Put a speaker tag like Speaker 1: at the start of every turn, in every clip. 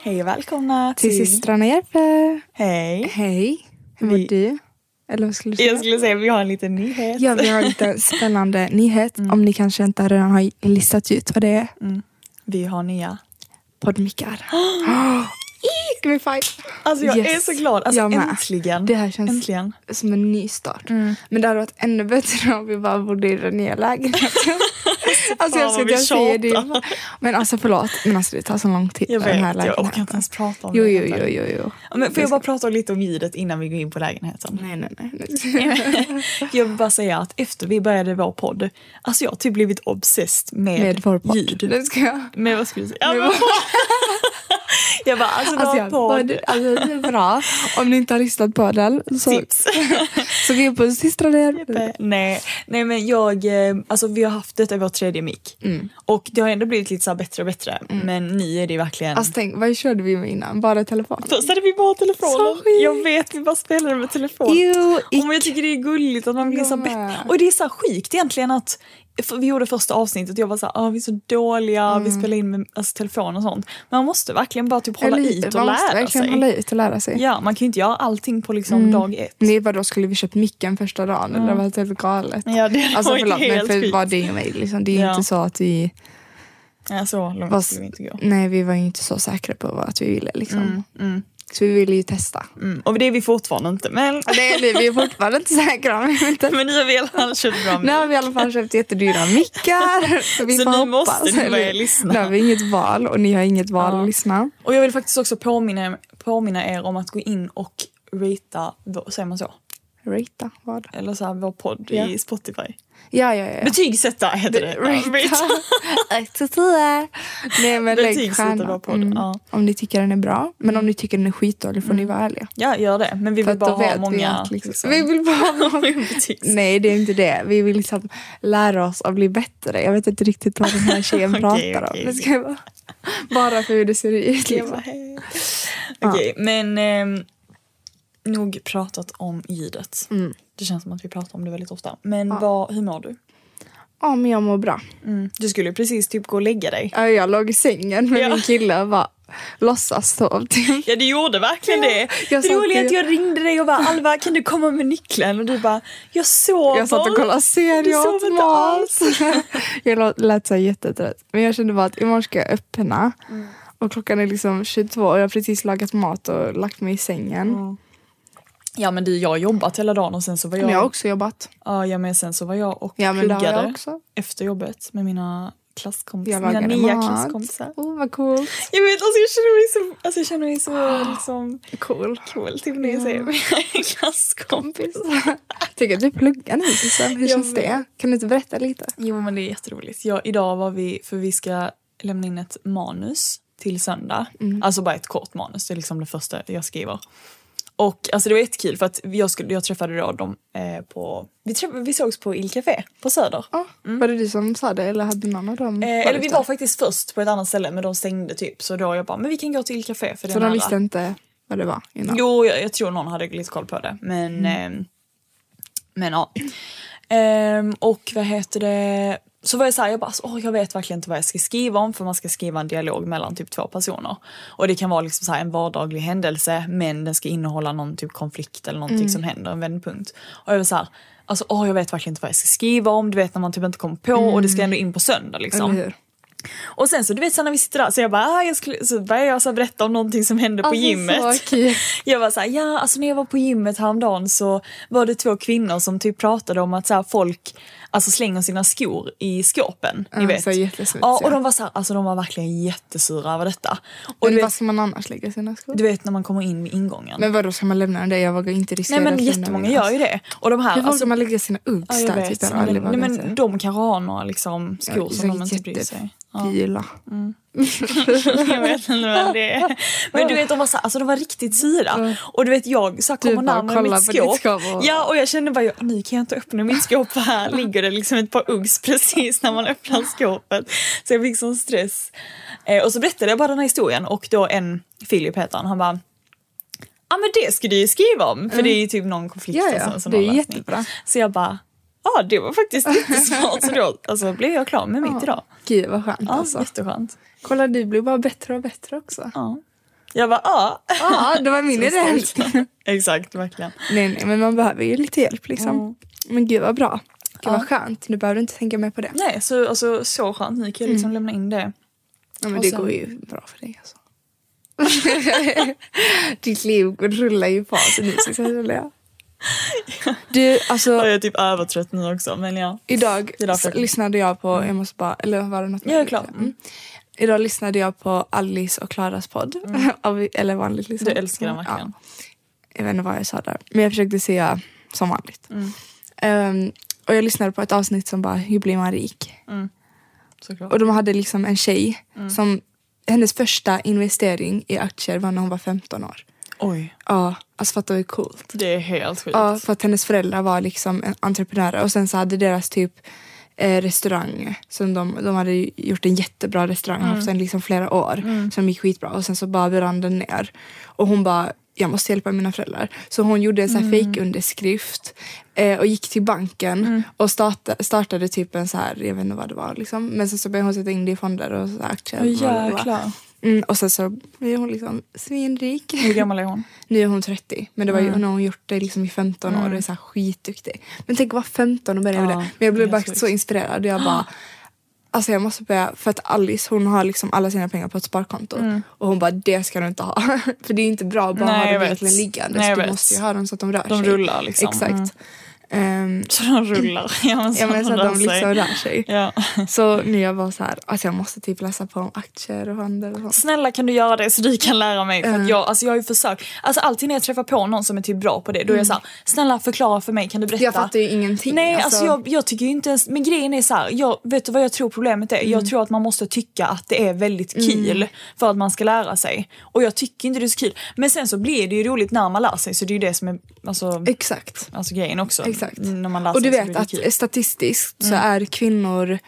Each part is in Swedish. Speaker 1: Hej och välkomna
Speaker 2: Till systrarna Järpe.
Speaker 1: Hej.
Speaker 2: Hej. Hur mår
Speaker 1: Vi-
Speaker 2: du? Eller vad skulle du
Speaker 1: Jag
Speaker 2: säga?
Speaker 1: skulle säga vi har en liten nyhet.
Speaker 2: Ja, vi har en liten spännande nyhet.
Speaker 1: Mm.
Speaker 2: Om ni kanske inte redan har listat ut vad det är.
Speaker 1: Vi har nya.
Speaker 2: Poddmickar. Oh, Give me five.
Speaker 1: Alltså jag
Speaker 2: Yes.
Speaker 1: är så glad. Alltså
Speaker 2: Jag med.
Speaker 1: äntligen.
Speaker 2: Det här känns
Speaker 1: Äntligen. Mm.
Speaker 2: som en ny start. Men det hade varit ännu bättre om vi bara bodde i den nya lägenheten. alltså jag
Speaker 1: vad
Speaker 2: älskar att
Speaker 1: vi
Speaker 2: jag säger
Speaker 1: tjatar.
Speaker 2: det. Men alltså förlåt, men alltså det tar så lång tid.
Speaker 1: Jag
Speaker 2: den här
Speaker 1: vet, jag
Speaker 2: lägenheten.
Speaker 1: orkar inte ens prata om
Speaker 2: Jo,
Speaker 1: det.
Speaker 2: jo, jo, jo, jo.
Speaker 1: Men får jag bara prata lite om ljudet innan vi går in på lägenheten?
Speaker 2: Nej, nej, nej. nej.
Speaker 1: Jag vill bara säga att efter vi började vår podd, alltså jag har typ blivit obsessed med,
Speaker 2: Med vår podd.
Speaker 1: ljud.
Speaker 2: Nu ska jag.
Speaker 1: Men vad skulle du säga? Ja, men, jag bara, alltså,
Speaker 2: Alltså,
Speaker 1: vår
Speaker 2: jag,
Speaker 1: podd.
Speaker 2: podd, alltså det är bra. Om ni inte har lyssnat på den så,
Speaker 1: Tips.
Speaker 2: så gå in på systrarna Järpe.
Speaker 1: Eh, Nej, nej men jag, eh, alltså vi har haft detta i vår tredje mick.
Speaker 2: Mm.
Speaker 1: Och det har ändå blivit lite så här bättre och bättre. Men nu är det verkligen...
Speaker 2: Alltså tänk, vad körde vi med innan? Bara telefon?
Speaker 1: Först hade vi bara telefoner.
Speaker 2: Så sjukt.
Speaker 1: Jag vet, vi bara spelade med telefon.
Speaker 2: Jo,
Speaker 1: Och men jag tycker det är gulligt att man blir så
Speaker 2: Jag med.
Speaker 1: bättre. Och det är så här sjukt egentligen att för vi gjorde första avsnittet och jag var så här, ah, vi är så dåliga, vi
Speaker 2: Mm.
Speaker 1: spelar in med alltså, telefon och sånt. Men man måste verkligen bara typ hålla
Speaker 2: Eller-
Speaker 1: ut och
Speaker 2: man måste
Speaker 1: lära
Speaker 2: verkligen
Speaker 1: sig.
Speaker 2: hålla Mm. ut och lära sig.
Speaker 1: Ja, man kan ju inte göra allting på liksom dag ett.
Speaker 2: Nej vadå, skulle vi köpt micken första dagen? Eller vad helt galet?
Speaker 1: Ja, det
Speaker 2: alltså
Speaker 1: var ju
Speaker 2: förlåt, men
Speaker 1: helt
Speaker 2: för
Speaker 1: sjukt.
Speaker 2: vad det är med liksom. Det är ju
Speaker 1: Ja.
Speaker 2: inte så att vi...
Speaker 1: Ja, så långt
Speaker 2: Var,
Speaker 1: skulle vi inte gå.
Speaker 2: nej, vi var ju inte så säkra på vad att vi ville liksom. Så vi ville ju testa.
Speaker 1: Mm. Och det är vi fortfarande inte. Men,
Speaker 2: Nej, nej, vi är fortfarande inte säkra. Men inte.
Speaker 1: men nu har vi i alla fall köpt bra
Speaker 2: Nu har vi i alla fall köpt jättedyra mickar. Så vi
Speaker 1: Så
Speaker 2: får
Speaker 1: ni
Speaker 2: hoppas.
Speaker 1: måste nu börja
Speaker 2: Eller-
Speaker 1: lyssna.
Speaker 2: Nu har vi inget val och ni har inget val
Speaker 1: Ja.
Speaker 2: att lyssna.
Speaker 1: Och jag vill faktiskt också påminna, påminna er om att gå in och ratea, vår- säger man så?
Speaker 2: Rata, vad?
Speaker 1: Eller så här, vår podd
Speaker 2: Ja.
Speaker 1: i Spotify.
Speaker 2: Ja, ja, ja.
Speaker 1: Betygsätta heter det.
Speaker 2: Rita.
Speaker 1: Rate.
Speaker 2: Ett till tio. Nej men lägg
Speaker 1: Betygsätter
Speaker 2: stjärna. Mm.
Speaker 1: vår podd, ja.
Speaker 2: Om ni tycker den är bra. Men om ni tycker den är skitdålig får ni vara ärliga.
Speaker 1: Ja, gör det. Men vi
Speaker 2: För
Speaker 1: vill
Speaker 2: att
Speaker 1: bara
Speaker 2: då vet
Speaker 1: ha
Speaker 2: vi
Speaker 1: många...
Speaker 2: att liksom- Vi vill bara ha många.
Speaker 1: betygs.
Speaker 2: Nej det är inte det. Vi vill liksom lära oss att bli bättre. Jag vet inte riktigt vad den här tjejen
Speaker 1: Okej,
Speaker 2: pratar om.
Speaker 1: okej,
Speaker 2: Det ska vara bara för hur det ser ut.
Speaker 1: Jag bara,
Speaker 2: Liksom.
Speaker 1: hej. Okej, men ehm, nog pratat om ljudet. Det känns som att vi pratar om det väldigt ofta. Men vad, hur mår du? Mm.
Speaker 2: Ja men jag mår bra.
Speaker 1: Du skulle ju precis typ gå och lägga dig.
Speaker 2: Ja, Jag låg i sängen med
Speaker 1: Ja.
Speaker 2: min kille och bara låtsas sov. typ.
Speaker 1: Ja, du gjorde verkligen det.
Speaker 2: jag
Speaker 1: det
Speaker 2: satt
Speaker 1: roliga är att
Speaker 2: i-
Speaker 1: jag ringde dig och bara Alva kan du komma med nyckeln? Och du bara jag sover.
Speaker 2: Jag satt och kollade
Speaker 1: Du
Speaker 2: serier och
Speaker 1: sover
Speaker 2: åt
Speaker 1: inte
Speaker 2: mat. Jag lå- lät så här jättetrött. Men jag kände bara att imorgon ska jag öppna.
Speaker 1: Mm.
Speaker 2: Och klockan är liksom 22 och jag har precis lagat mat och lagt mig i sängen.
Speaker 1: Mm. Ja men du jag har jobbat hela dagen och sen så var jag...
Speaker 2: Men jag har också jobbat.
Speaker 1: Ja, ja men sen så var jag och
Speaker 2: Ja, men det har jag
Speaker 1: pluggade
Speaker 2: också.
Speaker 1: efter jobbet med mina klasskompisar.
Speaker 2: Jag
Speaker 1: Mina
Speaker 2: lagade
Speaker 1: nya
Speaker 2: mat.
Speaker 1: klasskompisar.
Speaker 2: Oh, vad coolt.
Speaker 1: Jag vet alltså jag känner mig så, alltså, jag känner mig så liksom
Speaker 2: Cool.
Speaker 1: cool typ när jag säger mina klasskompis.
Speaker 2: Tycker att du pluggar nu Susanne. Hur
Speaker 1: Jag
Speaker 2: känns
Speaker 1: vet.
Speaker 2: det? Kan du inte berätta lite?
Speaker 1: Jo men det är jätteroligt. Ja, idag var vi, för vi ska lämna in
Speaker 2: Mm.
Speaker 1: ett manus till söndag. Alltså bara ett kort manus, det är liksom det första jag skriver. Och alltså det var jättekul för att jag, skulle, jag träffade då dem eh, på... Vi, träff, vi sågs på Il Café på Söder.
Speaker 2: Ja, Var det du som sa det eller hade någon av dem
Speaker 1: Mm. Eh, eller vi
Speaker 2: varit
Speaker 1: var
Speaker 2: där?
Speaker 1: faktiskt först på ett annat ställe men de stängde typ så då jag bara men vi kan gå till Il Café för det är
Speaker 2: Så de
Speaker 1: nära."
Speaker 2: visste inte vad det var innan? Mm.
Speaker 1: Jo, jag, jag tror någon hade lite koll på det. Men, ehm, men ja. Ehm, och vad heter det? Så var jag så här, jag bara, alltså, åh, jag vet verkligen inte vad jag ska skriva om för man ska skriva en dialog mellan typ två personer. Och det kan vara liksom så här en vardaglig händelse men den ska innehålla någon typ konflikt eller
Speaker 2: Mm.
Speaker 1: någonting som händer, en vändpunkt. Och jag var så här, alltså åh, jag vet verkligen inte vad jag ska skriva om, du vet när man typ inte kommer på och det ska ändå in på söndag liksom.
Speaker 2: Mm. Eller hur?
Speaker 1: Och sen så du vet så när vi sitter där så jag bara, ah, jag skulle, så börjar jag så här berätta om någonting som hände på
Speaker 2: Alltså, så
Speaker 1: gymmet.
Speaker 2: kul.
Speaker 1: Jag var så här, ja alltså när jag var på gymmet häromdagen så var det två kvinnor som typ pratade om att så här, folk alltså slänger sina skor i skåpen. Ni
Speaker 2: Ja,
Speaker 1: vet.
Speaker 2: så jättesmutsiga.
Speaker 1: ja, och de var så här, alltså de var verkligen jättesura över detta. Och
Speaker 2: Men
Speaker 1: du
Speaker 2: vad
Speaker 1: vet,
Speaker 2: ska man annars lägga sina skor?
Speaker 1: du vet när man kommer in vid ingången.
Speaker 2: Men vadå, ska man lämna den där? Jag vågar inte riskera
Speaker 1: Nej men
Speaker 2: att lämna
Speaker 1: jättemånga
Speaker 2: mina.
Speaker 1: gör ju det. Och de här,
Speaker 2: Hur
Speaker 1: alltså,
Speaker 2: vågar man lägga sina
Speaker 1: ja,
Speaker 2: Uggs
Speaker 1: jag
Speaker 2: där? Typ, jag
Speaker 1: vet.
Speaker 2: har aldrig
Speaker 1: Men, nej,
Speaker 2: vågat
Speaker 1: men
Speaker 2: det.
Speaker 1: de kanske har några liksom,
Speaker 2: Ja,
Speaker 1: skor
Speaker 2: så
Speaker 1: som de inte bryr sig.
Speaker 2: jättefula.
Speaker 1: Jag vet inte vad det är. Men du vet de var, så, alltså, de var riktigt sura. Och du vet jag så här,
Speaker 2: Mm. Du
Speaker 1: kommer
Speaker 2: bara
Speaker 1: närmare
Speaker 2: kollar
Speaker 1: mitt
Speaker 2: på ditt
Speaker 1: skåp.
Speaker 2: skåp och-
Speaker 1: Ja och jag kände bara jag, nu kan jag inte öppna mitt skåp för här ligger det liksom ett par Uggs precis när man öppnar skåpet. Så jag fick sån stress. Eh, och så berättade jag bara den här historien och då en Filip heter han, han bara Ja men det ska du ju skriva om för det är ju typ någon konflikt
Speaker 2: Mm. Ja,
Speaker 1: och
Speaker 2: ja,
Speaker 1: sen så
Speaker 2: det är
Speaker 1: någon lösning.
Speaker 2: jättebra.
Speaker 1: Så jag bara, ja det var faktiskt jättesmart. Så då alltså, blev jag klar med mitt idag.
Speaker 2: Gud vad skönt
Speaker 1: Ja,
Speaker 2: alltså.
Speaker 1: jätteskönt.
Speaker 2: Kolla du blir bara bättre och bättre också. Ja,
Speaker 1: Ja. Jag bara, ja.
Speaker 2: det var min idé.
Speaker 1: Exakt, verkligen.
Speaker 2: nej, nej, men man behöver ju lite hjälp liksom.
Speaker 1: Mm.
Speaker 2: Men gud vad bra. Gud vad skönt. Nu behöver du inte tänka mer på det.
Speaker 1: Nej, så, alltså, så skönt. Nu kan jag liksom lämna in det.
Speaker 2: Ja, men
Speaker 1: Och
Speaker 2: det
Speaker 1: sen-
Speaker 2: går ju bra för dig alltså. Ditt liv rullar ju på så nu ska jag rulla. Du,
Speaker 1: Jag
Speaker 2: alltså
Speaker 1: är typ övertrött nu också, men ja.
Speaker 2: idag
Speaker 1: Det är därför-
Speaker 2: s- lyssnade jag på, jag måste bara, eller var det något? mer?
Speaker 1: Jag är klar.
Speaker 2: Mm. Idag lyssnade jag på Alice och Klaras podd. Av- eller vanligt liksom.
Speaker 1: Mm. Du älskar den verkligen.
Speaker 2: jag vet inte vad jag sa där. Men jag försökte säga som vanligt.
Speaker 1: Mm.
Speaker 2: Ehm, och jag lyssnade på ett avsnitt som bara, hur blir man rik?
Speaker 1: Såklart.
Speaker 2: Och de hade liksom en tjej som, hennes första investering i aktier var när hon var 15 år.
Speaker 1: Oj,
Speaker 2: Ja, alltså fatta hur coolt.
Speaker 1: det är helt sjukt.
Speaker 2: Ja, för att hennes föräldrar var liksom en- entreprenörer och sen så hade deras typ eh, restaurang som de, de hade ju gjort en jättebra restaurang
Speaker 1: Mm.
Speaker 2: haft den liksom flera år som gick skitbra och sen så bara brann den ner och hon bara jag måste hjälpa mina föräldrar. Så hon gjorde en sån
Speaker 1: Mm.
Speaker 2: här fejkunderskrift eh, och gick till banken
Speaker 1: Mm.
Speaker 2: och starta, startade typ en så här, jag vet inte vad det var liksom. Men sen så började hon sätta in det i fonder och så här aktier.
Speaker 1: Åh,
Speaker 2: bla, bla, bla.
Speaker 1: jäklar.
Speaker 2: Mm, och sen så blev hon liksom svinrik.
Speaker 1: Hur gammal är hon?
Speaker 2: Nu är hon 30, men det var ju när hon gjort det liksom i 15 år och är så här skitduktig. Men tänk att vara 15 och börja med
Speaker 1: Mm. Ja,
Speaker 2: det. Men jag blev
Speaker 1: det är
Speaker 2: bara
Speaker 1: sjukt.
Speaker 2: så inspirerad och jag bara Alltså jag måste börja, för att Alice hon har liksom alla sina pengar på ett sparkonto och hon bara det ska du inte ha. för det är inte bra att bara
Speaker 1: Mm. Nej, jag
Speaker 2: ha dem
Speaker 1: vet.
Speaker 2: egentligen liggandes.
Speaker 1: Nej, jag
Speaker 2: du
Speaker 1: vet.
Speaker 2: måste ju ha dem så att de rör
Speaker 1: De
Speaker 2: sig.
Speaker 1: rullar liksom.
Speaker 2: Exakt.
Speaker 1: Mm.
Speaker 2: Ehm,
Speaker 1: Så de rullar. Ja, men så,
Speaker 2: ja men så att
Speaker 1: rör
Speaker 2: de
Speaker 1: sig.
Speaker 2: liksom rör sig.
Speaker 1: Ja.
Speaker 2: Så nu jag var så här, alltså jag måste typ läsa på om aktier och handel och sånt.
Speaker 1: Snälla kan du göra det så du kan lära mig.
Speaker 2: Eh.
Speaker 1: För att jag, alltså, jag har ju försökt. Alltså, alltid när jag träffar på någon som är typ bra på det, då är jag såhär, snälla förklara för mig, kan du berätta?
Speaker 2: Mm. Jag fattar ju ingenting.
Speaker 1: Nej, alltså, jag, jag tycker ju inte ens... Men grejen är så här, jag, vet du vad jag tror problemet är?
Speaker 2: Mm.
Speaker 1: Jag tror att man måste tycka att det är väldigt kul för att man ska lära sig. Och jag tycker inte det är så kul. Men sen så blir det ju roligt när man lär sig, så det är ju det som är alltså,
Speaker 2: Exakt.
Speaker 1: alltså, grejen också.
Speaker 2: Exakt.
Speaker 1: När man lär sig
Speaker 2: och du
Speaker 1: så Mm. blir
Speaker 2: vet
Speaker 1: det
Speaker 2: att
Speaker 1: kul.
Speaker 2: statistiskt så är kvinnor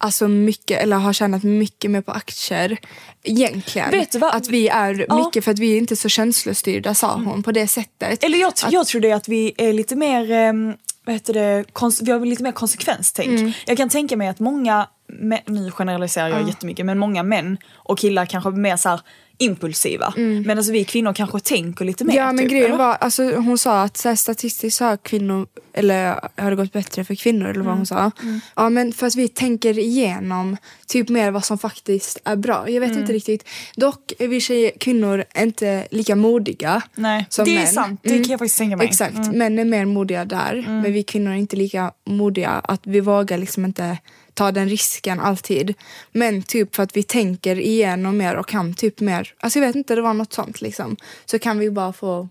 Speaker 2: Alltså mycket, eller har tjänat mycket mer på aktier egentligen.
Speaker 1: Vet du vad?
Speaker 2: Att vi är
Speaker 1: Ja. Mm.
Speaker 2: mycket för att vi är inte så känslostyrda sa hon på det sättet.
Speaker 1: Eller jag, tr- jag tror det är att vi är lite mer, ehm, vad heter det, kons- vi har lite mer konsekvenstänk.
Speaker 2: Mm.
Speaker 1: Jag kan tänka mig att många, mä- nu generaliserar jag jättemycket, men många män och killar kanske är mer så här impulsiva. Medan vi kvinnor kanske tänker lite mer.
Speaker 2: Mm. ja men
Speaker 1: typ,
Speaker 2: grejen
Speaker 1: eller?
Speaker 2: var, alltså, hon sa att så här, statistiskt så har kvinnor, eller har det gått bättre för kvinnor eller vad
Speaker 1: Mm.
Speaker 2: hon sa. Ja men för att vi tänker igenom typ mer vad som faktiskt är bra. Jag vet
Speaker 1: Mm.
Speaker 2: inte riktigt. Dock är vi tjejer, kvinnor inte lika modiga
Speaker 1: Nej,
Speaker 2: som
Speaker 1: det är
Speaker 2: män. Mm.
Speaker 1: sant. Det kan jag faktiskt tänka mig. Mm.
Speaker 2: Exakt, män är mer modiga där. Men vi kvinnor är inte lika modiga. Att vi vågar liksom inte ta den risken alltid. Men typ för att vi tänker igenom mer och kan typ mer. Alltså jag vet inte, det var något sånt liksom. Så kan vi ju bara få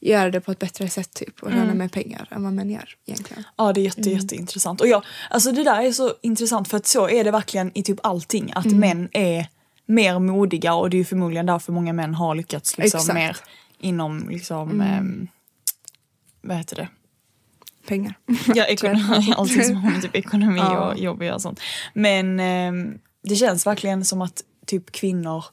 Speaker 2: göra det på ett bättre sätt typ. Och tjäna
Speaker 1: Mm.
Speaker 2: mer pengar än vad män gör egentligen.
Speaker 1: Ja det är jätte,
Speaker 2: Mm.
Speaker 1: jätteintressant. Och jag, alltså det där är så intressant för att så är det verkligen i typ allting.
Speaker 2: Mm.
Speaker 1: Att män är mer modiga och det är ju förmodligen därför många män har lyckats liksom
Speaker 2: Exakt. Mm.
Speaker 1: mer inom liksom, ehm, vad heter det?
Speaker 2: Pengar.
Speaker 1: Ja, ekonomi, allting som har med typ ekonomi
Speaker 2: Ja.
Speaker 1: och jobb att göra och sånt. Men ehm, det känns verkligen som att typ kvinnor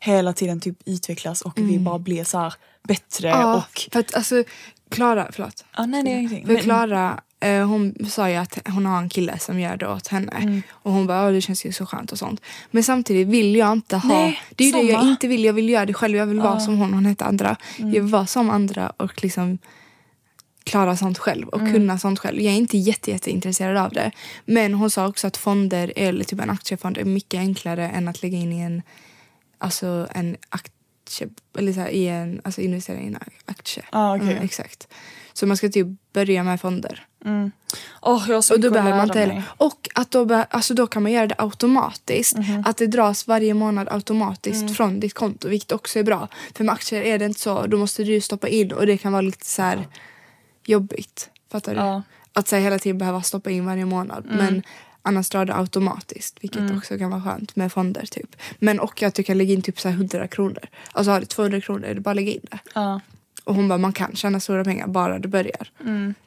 Speaker 1: hela tiden typ utvecklas och vi bara blir så här bättre
Speaker 2: Mm. Ja,
Speaker 1: och...
Speaker 2: för att alltså Klara, förlåt.
Speaker 1: Ja, nej, det är ingenting.
Speaker 2: Mm. För
Speaker 1: Men-
Speaker 2: Klara, eh, hon sa ju att hon har en kille som gör det åt henne.
Speaker 1: Mm.
Speaker 2: Och hon bara, "Ja, det känns ju så skönt och sånt. Men samtidigt vill jag inte ha,
Speaker 1: Nej,
Speaker 2: det är ju det jag
Speaker 1: samma. Mm.
Speaker 2: inte vill. Jag vill göra det själv. Jag vill vara som hon, hon hette andra. Jag vill vara som andra och liksom klara sånt själv och
Speaker 1: Mm.
Speaker 2: kunna sånt själv. Jag är inte jätte, jätteintresserad av det. Men hon sa också att fonder, eller typ en aktiefond, är mycket enklare än att lägga in i en, alltså en aktie, eller så här, i en, alltså investera i en aktie.
Speaker 1: Ja, okej.
Speaker 2: Mm, exakt. Så man ska typ börja med fonder.
Speaker 1: Åh, jag har så
Speaker 2: Och då
Speaker 1: mycket att
Speaker 2: behöver man
Speaker 1: lära
Speaker 2: inte heller.
Speaker 1: mig.
Speaker 2: Och att då, be, alltså då kan man göra det automatiskt.
Speaker 1: Mhm.
Speaker 2: Att det dras varje månad automatiskt
Speaker 1: Mm.
Speaker 2: från ditt konto, vilket också är bra. För med aktier är det inte så. Då måste du ju stoppa in och det kan vara lite så här jobbigt. Fattar du?
Speaker 1: Ja. Mm.
Speaker 2: Att så här, hela tiden behöva stoppa in varje månad. Men annars drar det automatiskt, vilket också kan vara skönt med fonder. typ. Men och att du kan lägga in typ så här 100 kronor. Alltså har du 200 kronor, är det bara att lägga in det.
Speaker 1: Ja.
Speaker 2: Och hon bara, man kan tjäna stora pengar bara du börjar.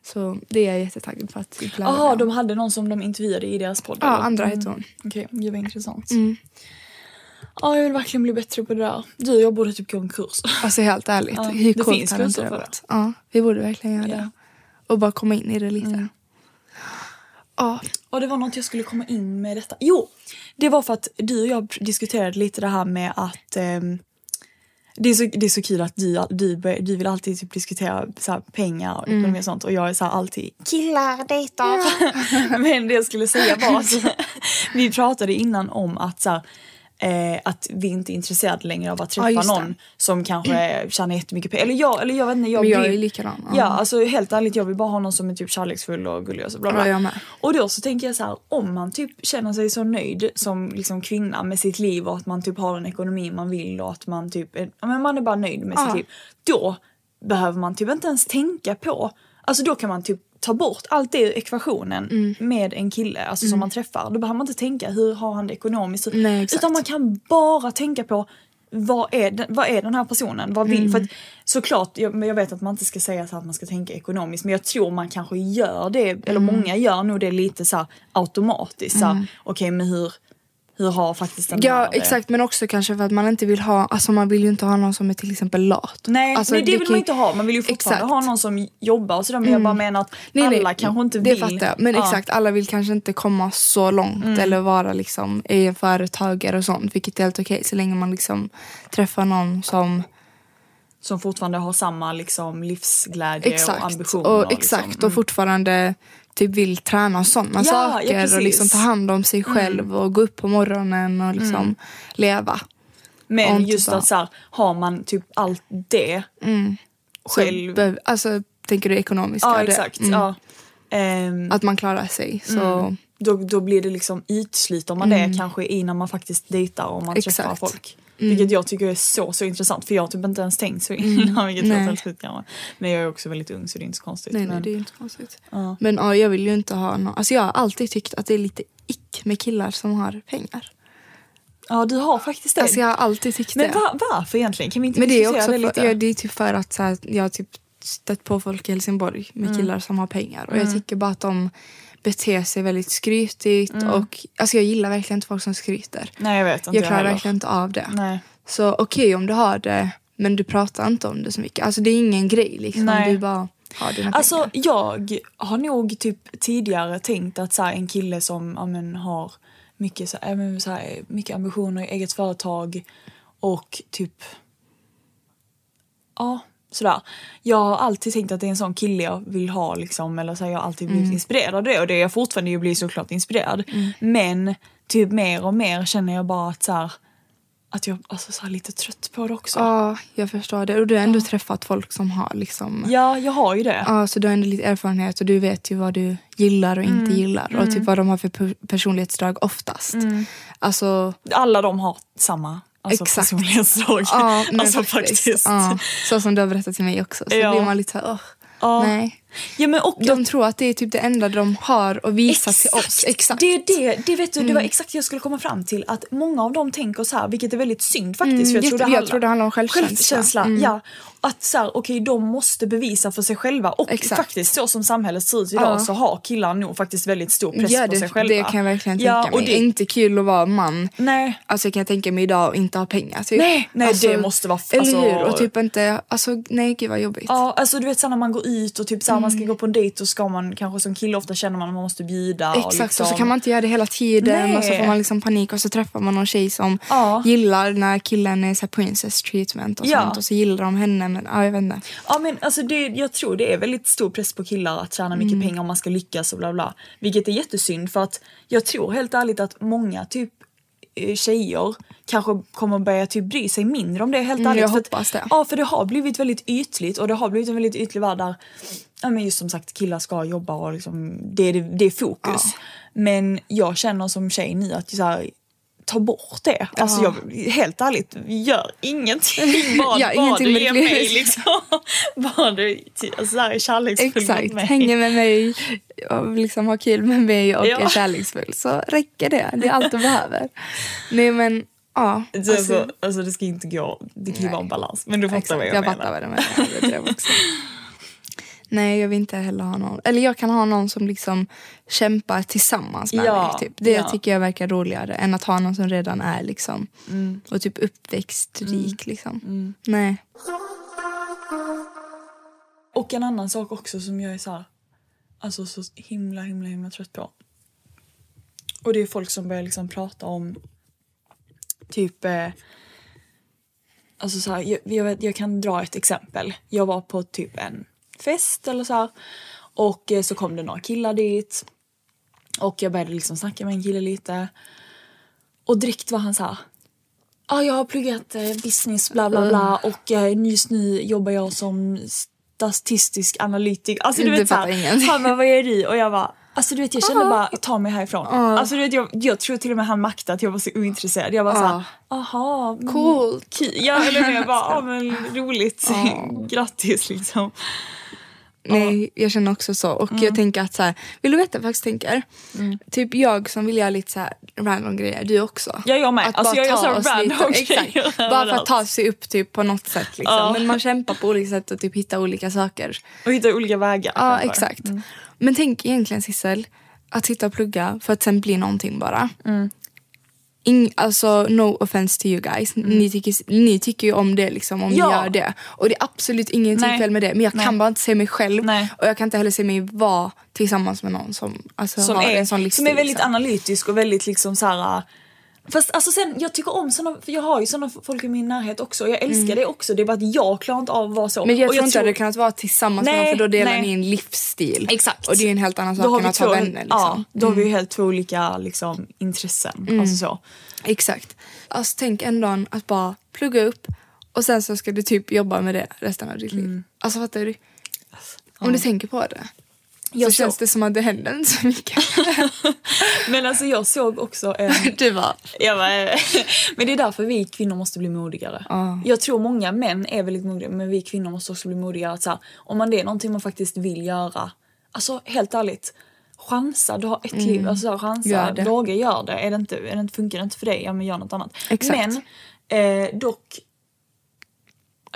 Speaker 2: Så det är jag jättetaggad på att typ lära mig
Speaker 1: Mm. Jaha,
Speaker 2: om.
Speaker 1: de hade någon som de intervjuade i deras podd?
Speaker 2: Ja,
Speaker 1: eller?
Speaker 2: andra heter Mm. hon.
Speaker 1: Okej, gud vad intressant. Ja, jag vill verkligen bli bättre på det där. Du, jag borde typ gå en kurs.
Speaker 2: Alltså helt ärligt,
Speaker 1: Ja,
Speaker 2: hur
Speaker 1: det
Speaker 2: coolt
Speaker 1: finns
Speaker 2: hade inte
Speaker 1: kurser
Speaker 2: det
Speaker 1: för
Speaker 2: varit? Ja, vi borde verkligen göra det. Och bara komma in i det lite.
Speaker 1: Mm.
Speaker 2: Ja,
Speaker 1: Och det var något jag skulle komma in med detta. Jo, det var för att du och jag diskuterade lite det här med att ehm, det, är så, det är så kul att du, du, bör- du vill alltid typ diskutera så här, pengar och
Speaker 2: Mm.
Speaker 1: ekonomi och sånt och jag är så här alltid killar, dejtar. Men det jag skulle säga var att vi pratade innan om att så här, Eh, att vi inte är intresserade längre av att träffa
Speaker 2: just det.
Speaker 1: någon som kanske tjänar jättemycket pengar. Eller jag, eller jag vet inte. Jag
Speaker 2: Men jag
Speaker 1: vill-
Speaker 2: är likadan, ja.
Speaker 1: Ja, alltså helt ärligt jag vill bara ha någon som är typ kärleksfull och gullig och så bla bla.
Speaker 2: Ja, jag med.
Speaker 1: Och då så tänker jag så här, om man typ känner sig så nöjd som liksom kvinna med sitt liv och att man typ har en ekonomi man vill och att man typ är, ja, men man är bara nöjd med sitt liv. Då behöver man typ inte ens tänka på, alltså då kan man typ ta bort allt det ur ekvationen
Speaker 2: Mm.
Speaker 1: med en kille alltså som man träffar. Då behöver man inte tänka hur har han det ekonomiskt? Hur-
Speaker 2: Nej, exakt.
Speaker 1: Utan man kan bara tänka på vad är, den, vad är den här personen? Vad vill?
Speaker 2: Mm.
Speaker 1: För att, såklart, jag, men jag vet att man inte ska säga så här att man ska tänka ekonomiskt men jag tror man kanske gör det, eller
Speaker 2: Mm.
Speaker 1: många gör nog det lite så här automatiskt. så här, Okej men hur, hur har faktiskt den här
Speaker 2: ja
Speaker 1: det?
Speaker 2: exakt. Men också kanske för att man inte vill ha, alltså man vill ju inte ha någon som är till exempel lat.
Speaker 1: Nej,
Speaker 2: alltså,
Speaker 1: nej det, vill
Speaker 2: kan-
Speaker 1: man inte ha. Man vill ju fortfarande
Speaker 2: Exakt. Mm.
Speaker 1: ha någon som jobbar och sådär men jag bara menar att
Speaker 2: Nej,
Speaker 1: alla
Speaker 2: nej,
Speaker 1: kanske inte
Speaker 2: det
Speaker 1: vill.
Speaker 2: fattar jag. Men
Speaker 1: Ja. Mm.
Speaker 2: exakt, alla vill kanske inte komma så långt eller vara liksom egen företagare och sånt. Vilket är helt okej så länge man liksom träffar någon som
Speaker 1: Som fortfarande har samma liksom, livsglädje och
Speaker 2: Exakt.
Speaker 1: ambition.
Speaker 2: Och,
Speaker 1: liksom,
Speaker 2: exakt.
Speaker 1: mm.
Speaker 2: och fortfarande typ vill träna och sådana
Speaker 1: Ja, ja,
Speaker 2: saker. och
Speaker 1: precis. Mm.
Speaker 2: liksom ta hand om sig själv och gå upp på morgonen och liksom leva. Och
Speaker 1: Men
Speaker 2: inte
Speaker 1: just
Speaker 2: bara-
Speaker 1: att så här, har man typ allt det
Speaker 2: Mm. Så
Speaker 1: själv.
Speaker 2: behöv- alltså, tänker du ekonomiska?
Speaker 1: ja,
Speaker 2: det-
Speaker 1: exakt.
Speaker 2: mm.
Speaker 1: Ja. Mm. Ehm,
Speaker 2: Att man klarar sig. Så,
Speaker 1: då, då blir det liksom utsliter man det kanske innan man faktiskt dejtar och man träffar
Speaker 2: Mm. Exakt. Mm.
Speaker 1: folk. Vilket jag tycker är så, så intressant för jag har typ inte ens tänkt så innan vilket låter
Speaker 2: Nej.
Speaker 1: helt sjukt kanske. Men jag är också väldigt ung så det är inte så konstigt.
Speaker 2: Nej,
Speaker 1: men...
Speaker 2: nej, det är ju inte konstigt. Men ja, jag vill ju inte ha någon. Alltså, jag har alltid tyckt att det är lite ick med killar som har pengar.
Speaker 1: Ja du har faktiskt det.
Speaker 2: Alltså, jag har alltid tyckt
Speaker 1: Men
Speaker 2: det.
Speaker 1: va- varför egentligen? Kan vi inte
Speaker 2: Men det är
Speaker 1: diskutera
Speaker 2: också
Speaker 1: det
Speaker 2: för,
Speaker 1: lite?
Speaker 2: ja, det är typ för att så här, jag har typ stött på folk i Helsingborg med
Speaker 1: Mm.
Speaker 2: killar som har pengar och jag tycker bara att de beter sig väldigt skrytigt och alltså jag gillar verkligen inte folk som skryter.
Speaker 1: Mm. Nej jag vet inte
Speaker 2: jag klarar
Speaker 1: heller.
Speaker 2: verkligen inte av det.
Speaker 1: Nej.
Speaker 2: Så okej om du har det men du pratar inte om det så mycket. Alltså det är ingen grej liksom.
Speaker 1: Nej.
Speaker 2: Du bara har dina
Speaker 1: Alltså
Speaker 2: pengar.
Speaker 1: jag har nog typ tidigare tänkt att så här, en kille som ja, men, har mycket, så här, ja, men, så här, mycket ambitioner i eget företag och typ ja sådär. Jag har alltid tänkt att det är en sån kille jag vill ha liksom eller så här, jag har alltid
Speaker 2: Mm.
Speaker 1: blivit inspirerad av det och det är jag fortfarande ju blir såklart inspirerad. Men typ mer och mer känner jag bara att så här, att jag alltså, så här, lite trött på det också.
Speaker 2: Ja, jag förstår det. Och du har ändå träffat folk som har liksom
Speaker 1: Ja, jag har ju det.
Speaker 2: Ja, så du har ändå lite erfarenhet och du vet ju vad du gillar och
Speaker 1: Mm,
Speaker 2: inte gillar och typ vad de har för per- personlighetsdrag oftast.
Speaker 1: Mm.
Speaker 2: Alltså,
Speaker 1: alla de har samma alltså
Speaker 2: Exakt.
Speaker 1: personlighetsdrag.
Speaker 2: ja, men
Speaker 1: alltså
Speaker 2: faktiskt. Ja, så som du har berättat till mig också. Så
Speaker 1: Ja.
Speaker 2: blir man lite såhär, åh,
Speaker 1: Ja.
Speaker 2: nej.
Speaker 1: Ja, men och
Speaker 2: De tror att det är typ det enda de har att visa till oss. Exakt. Mm.
Speaker 1: Det, är det, det, vet du, det var exakt det jag skulle komma fram till. Att Många av dem tänker så här, vilket är väldigt synd faktiskt. för jag, tror
Speaker 2: Mm, jätte- jag tror det handlar om självkänsla. Mm.
Speaker 1: självkänsla ja. Att så här, okej, de måste bevisa för sig själva. Och
Speaker 2: Exakt.
Speaker 1: faktiskt så som samhället ser ut idag
Speaker 2: Ja.
Speaker 1: så har killar nog faktiskt väldigt stor press
Speaker 2: Ja,
Speaker 1: på sig
Speaker 2: det,
Speaker 1: själva.
Speaker 2: det kan jag verkligen tänka
Speaker 1: ja,
Speaker 2: mig.
Speaker 1: och
Speaker 2: det är
Speaker 1: det,
Speaker 2: inte kul att vara man.
Speaker 1: Nej.
Speaker 2: Alltså kan jag tänka mig idag och inte ha pengar. Typ.
Speaker 1: Nej, nej, det måste vara-
Speaker 2: Eller
Speaker 1: alltså-
Speaker 2: hur? Och typ inte, alltså nej gud vad jobbigt. Mm.
Speaker 1: Ja, alltså du vet så här när man går ut och typ så här, man ska gå på en dejt och ska man kanske som kille ofta känner man att man måste bjuda.
Speaker 2: Exakt,
Speaker 1: och,
Speaker 2: och,
Speaker 1: liksom,
Speaker 2: så kan man inte göra det hela tiden och så
Speaker 1: Nej.
Speaker 2: får man liksom panik och så träffar man någon tjej som
Speaker 1: Ja.
Speaker 2: gillar när killen är så här princess treatment och
Speaker 1: Ja.
Speaker 2: sånt och så gillar de henne men ja, jag vet inte.
Speaker 1: Ja men alltså det, jag tror det är väldigt stor press på killar att tjäna mycket
Speaker 2: Mm.
Speaker 1: pengar om man ska lyckas och bla bla. Vilket är jättesynd för att jag tror helt ärligt att många typ eh, tjejer kanske kommer börja typ bry sig mindre om det helt ärligt.
Speaker 2: Mm, jag
Speaker 1: för att,
Speaker 2: hoppas det.
Speaker 1: Ja för det har blivit väldigt ytligt och det har blivit en väldigt ytlig värld där ja, men just som sagt killar ska jobba och liksom, det, är det, det är fokus. Men jag känner som tjej nu att så här, ta bort det. Alltså jag, helt ärligt, gör ingenting. Bara,
Speaker 2: Ja,
Speaker 1: bara
Speaker 2: ingenting
Speaker 1: du
Speaker 2: med
Speaker 1: ger
Speaker 2: det.
Speaker 1: mig liksom. Bara du ty- alltså, så här är kärleksfull mot
Speaker 2: Exakt,
Speaker 1: mig.
Speaker 2: hänga med mig och liksom ha kul med mig och
Speaker 1: Ja.
Speaker 2: är kärleksfull så räcker det. Det är allt du behöver. Nej men ja.
Speaker 1: Så, alltså, alltså det ska inte gå, det kan ju vara en balans. Men du fattar
Speaker 2: Exakt,
Speaker 1: vad jag,
Speaker 2: jag
Speaker 1: menar.
Speaker 2: fattar vad du menar. Jag tror också. Nej, jag vill inte heller ha någon. Eller jag kan ha någon som liksom kämpar tillsammans med
Speaker 1: Ja,
Speaker 2: mig. Typ. Det
Speaker 1: ja.
Speaker 2: tycker jag verkar roligare än att ha någon som redan är liksom
Speaker 1: Mm.
Speaker 2: och typ uppväxtrik. Liksom. Nej.
Speaker 1: Och en annan sak också som jag är så här, alltså så himla himla himla trött på. Och det är folk som börjar liksom prata om typ eh, Alltså så här, jag, jag, vet, jag kan dra ett exempel. Jag var på typ en fest eller så här. Och eh, så kom det några killar dit. Och jag började liksom snacka med en kille lite. Och direkt var han så här. Ja, jag har pluggat eh, business bla bla bla
Speaker 2: Mm.
Speaker 1: och eh, just nu jobbar jag som statistisk analytiker. Alltså du
Speaker 2: Du
Speaker 1: vet så
Speaker 2: fattar
Speaker 1: här,
Speaker 2: ingenting.
Speaker 1: han bara vad gör du? Och jag bara Alltså du vet jag kände bara ta mig härifrån. Alltså du vet jag, jag tror till och med han maktade att jag var så ointresserad. Jag var så här, aha, mm,
Speaker 2: Coolt.
Speaker 1: ki- Ja eller hur? Jag bara, ja men roligt. Grattis liksom.
Speaker 2: Nej, jag känner också så. Och
Speaker 1: Mm.
Speaker 2: jag tänker att så här, vill du veta vad jag faktiskt tänker? Typ jag som vill göra lite så här random grejer, du också.
Speaker 1: Ja, jag med.
Speaker 2: Att
Speaker 1: Alltså,
Speaker 2: bara
Speaker 1: jag gör
Speaker 2: ta
Speaker 1: så här
Speaker 2: oss
Speaker 1: random
Speaker 2: lite,
Speaker 1: grejer
Speaker 2: Exakt. Bara för att
Speaker 1: överallt.
Speaker 2: ta sig upp typ på något sätt liksom. Men man kämpar på olika sätt och typ hittar olika saker.
Speaker 1: Och hitta olika vägar.
Speaker 2: Ja,
Speaker 1: kanske.
Speaker 2: exakt. Men tänk egentligen Sissel, att sitta och plugga för att sen bli någonting bara.
Speaker 1: Mm.
Speaker 2: Ing, alltså no offense to you guys, ni, tycker, ni tycker ju om det liksom om
Speaker 1: Mm. Ja.
Speaker 2: ni gör det. Och det är absolut ingenting
Speaker 1: Nej.
Speaker 2: fel med det men jag
Speaker 1: Nej.
Speaker 2: kan bara inte se mig själv
Speaker 1: Nej.
Speaker 2: och jag kan inte heller se mig vara tillsammans med någon som alltså,
Speaker 1: Som
Speaker 2: har
Speaker 1: är,
Speaker 2: en sån livsstil.
Speaker 1: som är väldigt
Speaker 2: liksom.
Speaker 1: analytisk och väldigt liksom så här. äh, Fast alltså sen, jag tycker om såna, för jag har ju såna folk i min närhet också. Jag älskar det också. Det är bara att jag klarar inte av att vara så.
Speaker 2: Mm. Men jag
Speaker 1: Och
Speaker 2: tror inte det kunnat vara tillsammans med
Speaker 1: Nej,
Speaker 2: någon för då delar
Speaker 1: nej.
Speaker 2: ni en livsstil.
Speaker 1: Exakt.
Speaker 2: Och det är ju en helt annan
Speaker 1: Då har
Speaker 2: sak än
Speaker 1: vi
Speaker 2: att ha
Speaker 1: två,
Speaker 2: vänner. Liksom. Mm.
Speaker 1: ja, då har vi ju helt två olika liksom, intressen. Alltså så.
Speaker 2: Exakt. Alltså tänk en dag att bara plugga upp och sen så ska du typ jobba med det resten av ditt liv. Alltså fattar du? Om du tänker på det. Alltså, så
Speaker 1: Jag såg-
Speaker 2: känns det som att det händer inte så mycket.
Speaker 1: Men alltså jag såg också en...
Speaker 2: du bara,
Speaker 1: Jag bara, eh, men det är därför vi kvinnor måste bli modigare. Jag tror många män är väldigt modiga men vi kvinnor måste också bli modigare. Att så här, om man det är någonting man faktiskt vill göra, alltså helt ärligt. Chansa, du har ett liv. Alltså, så här, chansa,
Speaker 2: Mm. Gör det.
Speaker 1: våga göra det. Är det, inte, är det inte. Funkar det inte för dig, ja men gör något annat.
Speaker 2: Exakt.
Speaker 1: Men eh, dock...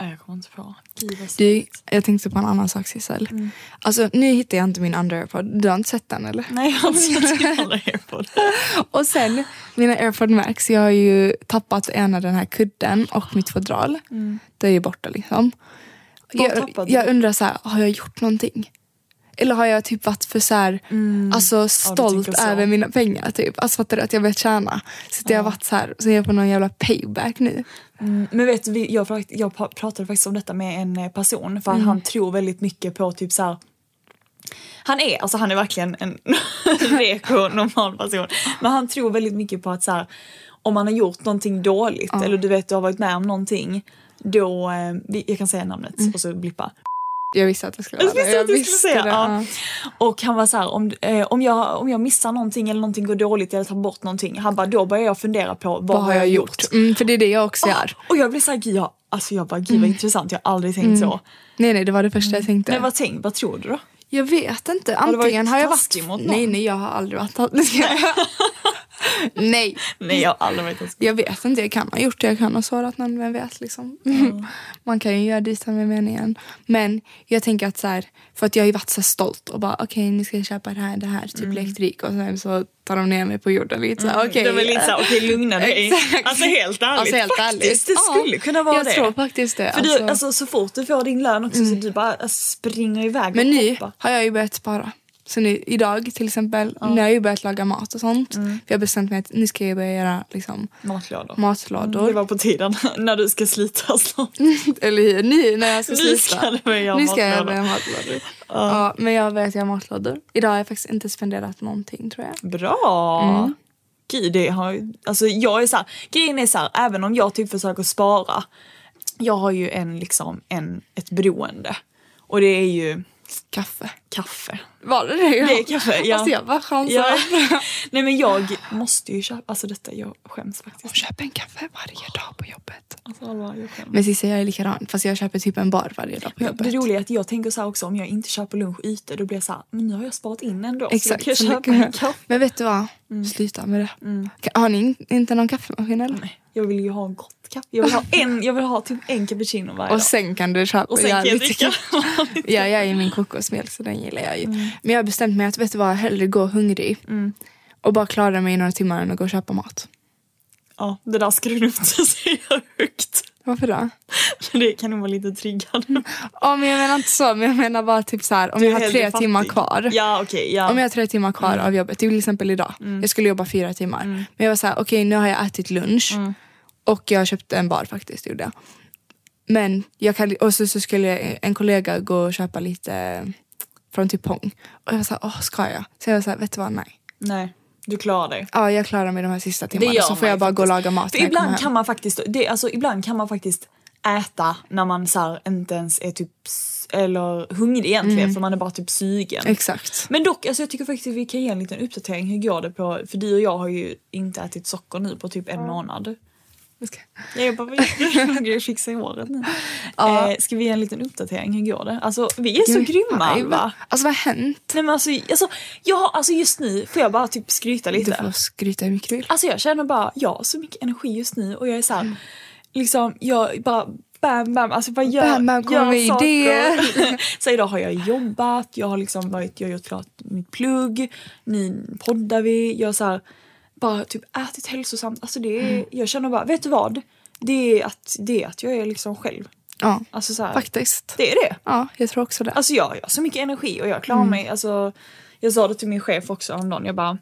Speaker 1: Nej, Jag kommer inte på. Gud, vad
Speaker 2: du, jag tänkte på en annan sak Sissel. Alltså nu hittar jag inte min underairpod. Du har inte sett den eller?
Speaker 1: Nej, jag har inte sett några på det.
Speaker 2: Och sen, mina airpod max, jag har ju tappat ena den här kudden och mitt fodral. Det är ju borta liksom. Jag,
Speaker 1: Mm. tappade du?
Speaker 2: jag undrar så här, har jag gjort någonting? Eller har jag typ varit för så här, alltså stolt
Speaker 1: Mm. tänker så.
Speaker 2: över mina pengar typ? Alltså fattar du att jag vet tjäna? Så att jag har varit så här, så är jag på någon jävla payback nu.
Speaker 1: Men vet du, vi- jag, pra- jag pa- pratade faktiskt om detta med en eh, person för han tror väldigt mycket på typ så här. Han är, alltså han är verkligen en reko normal person. Men han tror väldigt mycket på att så här, om man har gjort någonting dåligt eller du vet du har varit med om någonting då, eh, vi- jag kan säga namnet och så blippa.
Speaker 2: Jag visste att det skulle vara
Speaker 1: Jag
Speaker 2: det.
Speaker 1: visste att du skulle säga.
Speaker 2: det,
Speaker 1: Ja.
Speaker 2: ja.
Speaker 1: Och han var så här, om, eh, om, jag, om jag missar någonting eller någonting går dåligt eller tar bort någonting. Han bara, då börjar jag fundera på vad,
Speaker 2: Vad har jag gjort? Mm, för det är Mm. det jag också gör.
Speaker 1: och jag blev såhär, gud, jag,
Speaker 2: Mm.
Speaker 1: alltså jag bara, gud vad intressant, jag har aldrig tänkt så. Mm.
Speaker 2: Nej nej, det var det första jag tänkte.
Speaker 1: Men vad, tänk, vad tror du då?
Speaker 2: Jag vet inte.
Speaker 1: du varit
Speaker 2: Antingen har jag
Speaker 1: taskig
Speaker 2: varit...
Speaker 1: mot någon?
Speaker 2: nej, nej, jag har aldrig varit taskig. nej,
Speaker 1: Nej jag har aldrig varit taskig.
Speaker 2: jag vet inte. Jag kan ha gjort det. Jag kan ha sårat någon, vem vet. Liksom.
Speaker 1: Mm.
Speaker 2: Man kan ju göra dit med meningen. Men jag tänker att så här, för att jag har ju varit så här stolt och bara okej, nu ska jag köpa det här, det här, typ
Speaker 1: Mm.
Speaker 2: elektronik och sen så tar de ner mig på jorden lite så här, okej.
Speaker 1: Det var lite såhär, okej lugna dig.
Speaker 2: Exakt.
Speaker 1: Alltså helt ärligt.
Speaker 2: Alltså, helt
Speaker 1: faktiskt,
Speaker 2: ärligt.
Speaker 1: det
Speaker 2: Ja,
Speaker 1: skulle kunna vara
Speaker 2: jag
Speaker 1: det.
Speaker 2: tror faktiskt det,
Speaker 1: För du,
Speaker 2: alltså. Mm.
Speaker 1: alltså, så fort du får din lön också så du bara alltså, springer iväg
Speaker 2: Men
Speaker 1: och
Speaker 2: nu
Speaker 1: hoppar.
Speaker 2: har jag ju börjat spara. Så nu, idag till exempel, nu har jag ju börjat laga mat och sånt.
Speaker 1: Mm.
Speaker 2: För jag har bestämt mig att nu ska jag börja göra liksom,
Speaker 1: Matlådor.
Speaker 2: matlådor.
Speaker 1: Mm, Det var på tiden när du ska slita snart.
Speaker 2: Eller hur? Nu när jag ska
Speaker 1: Nu
Speaker 2: sluta.
Speaker 1: ska du börja göra
Speaker 2: Nu ska
Speaker 1: matlådor.
Speaker 2: jag börja göra matlådor. Ja, men jag har börjat göra matlådor. Idag har jag faktiskt inte spenderat någonting tror jag.
Speaker 1: Bra!
Speaker 2: Mm.
Speaker 1: Gud, det har ju- alltså jag är så här, grejen är så här, även om jag typ försöker spara, jag har ju en liksom, en, ett beroende. Och det är ju
Speaker 2: Kaffe.
Speaker 1: kaffe.
Speaker 2: Var det det?
Speaker 1: Det är kaffe, ja.
Speaker 2: Alltså jag bara chansar.
Speaker 1: Ja. Nej men jag måste ju köpa, alltså detta, jag skäms faktiskt.
Speaker 2: Köp en kaffe varje dag på jobbet.
Speaker 1: Alltså, Alva, jag skäms.
Speaker 2: Men Cissi jag är likadan fast jag köper typ en bar varje dag på jobbet.
Speaker 1: Det roliga är att jag tänker så här också om jag inte köper lunch ute då blir jag så här, men nu har jag sparat in ändå
Speaker 2: Exakt.
Speaker 1: så då
Speaker 2: så
Speaker 1: kan jag köpa
Speaker 2: mycket-
Speaker 1: en kaffe. Mm.
Speaker 2: Men vet du vad? Sluta med det. Ka- Har ni in- inte någon kaffemaskin eller?
Speaker 1: Nej, Jag vill ju ha en gott kaffe. Jag vill ha en, jag vill ha typ en cappuccino varje
Speaker 2: Och
Speaker 1: dag.
Speaker 2: sen kan du köpa
Speaker 1: Och sen kan jag
Speaker 2: jävligt-
Speaker 1: dricka. Mm.
Speaker 2: Ja, jag är min kokosmjölk så den gillar jag ju. Men jag har bestämt mig att vet du vad, hellre gå hungrig och bara klara mig i några timmar än att gå och köpa mat.
Speaker 1: ja, det där ska du nog inte säga högt.
Speaker 2: Varför då?
Speaker 1: För det kan nog vara lite triggande.
Speaker 2: Ja, men jag menar inte så, men jag menar bara typ så här, om jag har
Speaker 1: hellre
Speaker 2: tre
Speaker 1: fattig.
Speaker 2: timmar kvar.
Speaker 1: Ja, okej. ja. Mm.
Speaker 2: Om jag har tre timmar kvar av jobbet, typ till exempel idag. Jag skulle jobba fyra timmar. Men jag var så här, okej nu har jag ätit lunch
Speaker 1: Mm.
Speaker 2: och jag köpte en bar faktiskt. Gjorde jag. Men jag kan, och så, så skulle en kollega gå och köpa lite från typ Pong. Och jag var så här, åh ska jag? Så jag var så här, vet du vad, nej.
Speaker 1: Nej, du klarar dig.
Speaker 2: Ja, jag klarar mig de här sista
Speaker 1: Det
Speaker 2: timmarna
Speaker 1: gör
Speaker 2: så får
Speaker 1: man
Speaker 2: jag
Speaker 1: ju
Speaker 2: bara gå och
Speaker 1: faktiskt.
Speaker 2: laga mat.
Speaker 1: För
Speaker 2: när jag kommer
Speaker 1: ibland
Speaker 2: hem.
Speaker 1: kan man faktiskt, det, alltså, ibland kan man faktiskt äta när man så här, inte ens är typ s- eller hungrig egentligen för man är bara typ sugen.
Speaker 2: Exakt.
Speaker 1: Men dock, alltså jag tycker faktiskt att vi kan ge en liten uppdatering. Hur går det på, för du och jag har ju inte ätit socker nu på typ en månad. Jag bara, vad gör du? jag fixar i håret nu.
Speaker 2: Ja.
Speaker 1: Eh, ska vi ge en liten uppdatering? Hur går det? Alltså vi är så
Speaker 2: Men
Speaker 1: grymma
Speaker 2: fan,
Speaker 1: Alva.
Speaker 2: Alltså vad har hänt?
Speaker 1: Nej men alltså, alltså, jag har, alltså just nu får jag bara typ skryta
Speaker 2: Du
Speaker 1: lite.
Speaker 2: får skryta hur mycket du vill.
Speaker 1: Alltså jag känner bara, jag har så mycket energi just nu och jag är såhär, liksom jag bara bam bam, alltså bara gör,
Speaker 2: Bam, bam, kommer
Speaker 1: gör
Speaker 2: med
Speaker 1: saker.
Speaker 2: idéer.
Speaker 1: så idag har jag jobbat, jag har liksom varit, jag har gjort klart mitt plugg, nu poddar vi, jag har så här, bara typ ätit hälsosamt. Alltså det är,
Speaker 2: Mm.
Speaker 1: jag känner bara, vet du vad? Det är att, det är att jag är liksom själv.
Speaker 2: Ja,
Speaker 1: Alltså så här,
Speaker 2: faktiskt.
Speaker 1: det är det.
Speaker 2: Ja, jag tror också det.
Speaker 1: Alltså jag har så mycket energi och jag klarar
Speaker 2: Mm.
Speaker 1: mig. Alltså, jag sa det till min chef också häromdagen. Jag bara,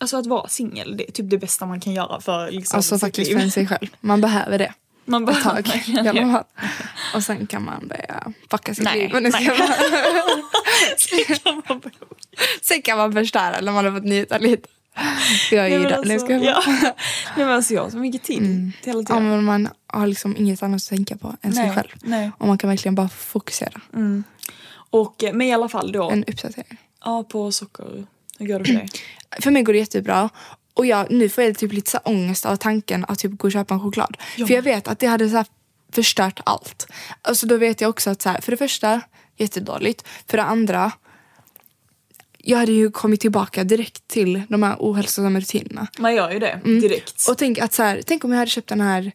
Speaker 1: alltså att vara singel det är typ det bästa man kan göra för liksom,
Speaker 2: Alltså
Speaker 1: sitt
Speaker 2: faktiskt
Speaker 1: liv.
Speaker 2: för sig själv. Man behöver det.
Speaker 1: Man
Speaker 2: Ett
Speaker 1: behöver
Speaker 2: tag i
Speaker 1: verkligen
Speaker 2: alla
Speaker 1: det.
Speaker 2: fall. Och sen kan man börja fucka sitt
Speaker 1: Nej,
Speaker 2: liv. Men det ska
Speaker 1: nej.
Speaker 2: man,
Speaker 1: Så kan man bara-
Speaker 2: sen kan man förstöra när man har fått njuta lite. Jag är
Speaker 1: Nej,
Speaker 2: ju
Speaker 1: men
Speaker 2: där. Nej,
Speaker 1: alltså,
Speaker 2: ska jag Mm.
Speaker 1: ja. Nej men alltså jag har så mycket tid till hela
Speaker 2: ja,
Speaker 1: tiden.
Speaker 2: men man har liksom inget annat att tänka på än sig
Speaker 1: Nej,
Speaker 2: själv.
Speaker 1: nej.
Speaker 2: Och man kan verkligen bara fokusera.
Speaker 1: Och, eh, men i alla fall då,
Speaker 2: En uppdatering.
Speaker 1: ja, på socker. Hur går det för dig?
Speaker 2: För mig går det jättebra. Och jag, nu får jag typ lite så här ångest av tanken att typ gå och köpa en choklad. För jag vet att det hade så här förstört allt. Alltså då vet jag också att så här, för det första, jättedåligt. För det andra, jag hade ju kommit tillbaka direkt till de här ohälsosamma rutinerna.
Speaker 1: Man gör ju det direkt.
Speaker 2: Mm. Och tänk, att så här, tänk om jag hade köpt den här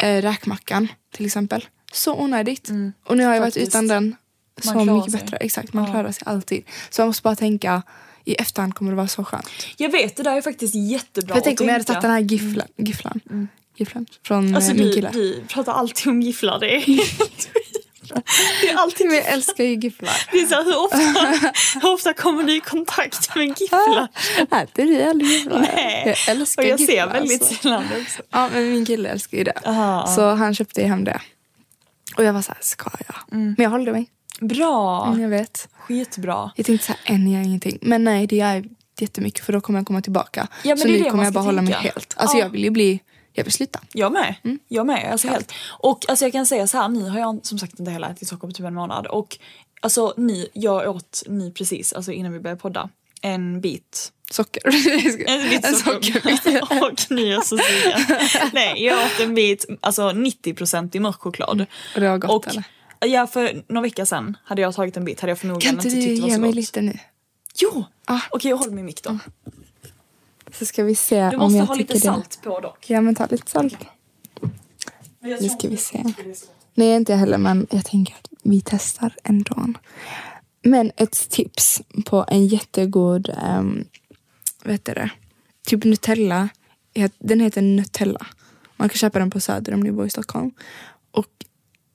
Speaker 2: eh, räkmackan till exempel. Så onödigt. Och nu har jag varit
Speaker 1: Mm. Faktiskt.
Speaker 2: utan den
Speaker 1: Man
Speaker 2: så
Speaker 1: klarar
Speaker 2: mycket
Speaker 1: sig.
Speaker 2: bättre. Exakt, man klarar sig alltid. Så man måste bara tänka, i efterhand kommer det vara så skönt.
Speaker 1: Jag vet, det där är faktiskt jättebra
Speaker 2: För jag tänker om jag hade
Speaker 1: tänka. Mm.
Speaker 2: tagit den här gifflan, gifflan, gifflan från
Speaker 1: Alltså
Speaker 2: eh, min
Speaker 1: du,
Speaker 2: kille.
Speaker 1: du pratar alltid om gifflar. Det är helt Det är alltid
Speaker 2: Men jag älskar ju gifflar.
Speaker 1: Det är så här, hur, ofta, hur ofta kommer du i kontakt med en giffla?
Speaker 2: Ah, Äter du aldrig gifflar?
Speaker 1: Nej.
Speaker 2: Jag älskar
Speaker 1: Och Ah. jag ser
Speaker 2: gifflar,
Speaker 1: väldigt
Speaker 2: alltså.
Speaker 1: sällan Ah, det också.
Speaker 2: Ja men min kille älskar ju det.
Speaker 1: Aha.
Speaker 2: Så han köpte ju hem det. Och jag var såhär, ska jag?
Speaker 1: Mm.
Speaker 2: Men jag håller mig.
Speaker 1: Bra!
Speaker 2: Mm, jag vet.
Speaker 1: Skitbra.
Speaker 2: Jag tänkte såhär, en gör ingenting. Men nej det gör jättemycket för då kommer jag komma tillbaka.
Speaker 1: Ja, men
Speaker 2: så
Speaker 1: det är
Speaker 2: nu
Speaker 1: det
Speaker 2: kommer
Speaker 1: man
Speaker 2: jag
Speaker 1: ska
Speaker 2: bara hålla mig
Speaker 1: tänka.
Speaker 2: helt. Alltså
Speaker 1: Ja.
Speaker 2: jag vill ju bli, jag vill sluta.
Speaker 1: Jag med. Jag med. Alltså helt. Och alltså jag kan säga så här, nu har jag som sagt inte heller ätit socker på typ en månad. Och alltså ni, jag åt ni precis, alltså innan vi började podda, en bit.
Speaker 2: Socker.
Speaker 1: En bit sockerbit. och ni är så sugna. Nej, jag åt en bit, alltså 90% i mörk choklad.
Speaker 2: Mm. Och det var gott,
Speaker 1: och,
Speaker 2: eller?
Speaker 1: ja, för några veckor sedan hade jag tagit en bit hade jag
Speaker 2: Kan
Speaker 1: förmodligen
Speaker 2: inte
Speaker 1: inte
Speaker 2: du
Speaker 1: tyckt Alltså, det var
Speaker 2: ge
Speaker 1: så
Speaker 2: mig
Speaker 1: gott.
Speaker 2: lite nu?
Speaker 1: Jo!
Speaker 2: Ah.
Speaker 1: Okej, håll min mick då.
Speaker 2: Så ska vi se
Speaker 1: Du
Speaker 2: om
Speaker 1: måste
Speaker 2: jag
Speaker 1: ha lite
Speaker 2: tycker det-
Speaker 1: salt på dock.
Speaker 2: Ja men ta lite salt. Nu ska vi se. Nej inte jag heller men jag tänker att vi testar ändå. Men ett tips på en jättegod, um, vad heter det, typ Nutella. Het- Den heter Nutella. Man kan köpa den på Söder om ni bor i Stockholm. Och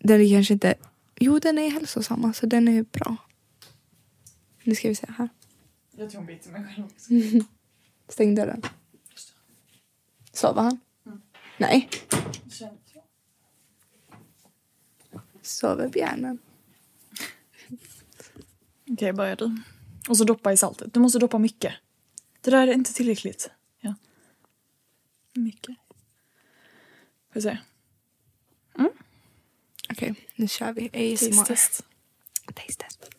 Speaker 2: den är kanske inte, jo den är hälsosam så den är bra. Nu ska vi se här.
Speaker 1: Jag tror hon biter mig själv också.
Speaker 2: Mm. Stäng dörren. Sover han? Nej. Sover björnen?
Speaker 1: Okej, börja du. Och så doppa i saltet. Du måste doppa mycket. Det där är inte tillräckligt. Ja. Mycket. Får vi se.
Speaker 2: Okej, nu kör vi ASMR.
Speaker 1: Taste test.
Speaker 2: Taste test.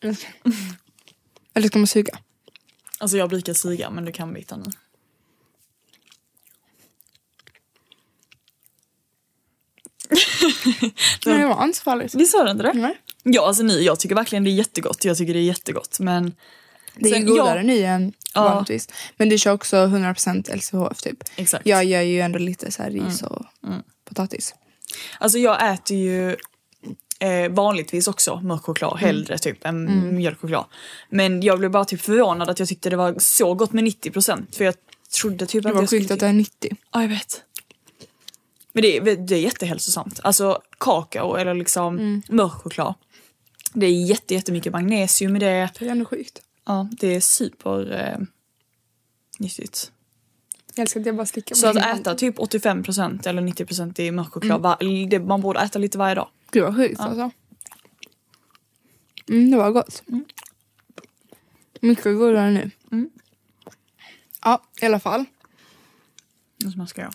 Speaker 2: Mm. Eller ska man suga?
Speaker 1: Alltså jag brukar suga men du kan bita nu.
Speaker 2: Nej, det var inte så farligt.
Speaker 1: Visst var det inte det?
Speaker 2: Nej.
Speaker 1: Ja, alltså nu, jag tycker verkligen det är jättegott. Jag tycker det är jättegott men...
Speaker 2: Det är ju
Speaker 1: Sen,
Speaker 2: godare
Speaker 1: ja,
Speaker 2: nu än
Speaker 1: Ja.
Speaker 2: vanligtvis. Men du kör också 100% LCHF typ.
Speaker 1: Exakt.
Speaker 2: Jag gör ju ändå lite så här ris och potatis.
Speaker 1: Alltså jag äter ju eh, vanligtvis också mörk choklad
Speaker 2: Mm.
Speaker 1: hellre typ än mjölkchoklad. Men jag blev bara typ förvånad att jag tyckte det var så gott med 90% för jag trodde typ
Speaker 2: Det
Speaker 1: att
Speaker 2: var
Speaker 1: jag
Speaker 2: sjukt att det är 90.
Speaker 1: Ja, jag vet. Men det är, det är jättehälsosamt. Alltså kakao eller liksom
Speaker 2: Mm.
Speaker 1: mörk choklad. Det är jätte, jättemycket magnesium i det.
Speaker 2: Det är ändå sjukt.
Speaker 1: Ja, det är super eh, nyttigt.
Speaker 2: Jag älskar att jag bara slickar
Speaker 1: Så att äta typ 85% eller 90% i mörk
Speaker 2: Mm.
Speaker 1: choklad, va- det, man borde äta lite varje dag.
Speaker 2: Gud vad sjukt alltså. Mm, det var gott. Mycket godare nu.
Speaker 1: Mm.
Speaker 2: Ja, i alla fall.
Speaker 1: Nu smaskar jag.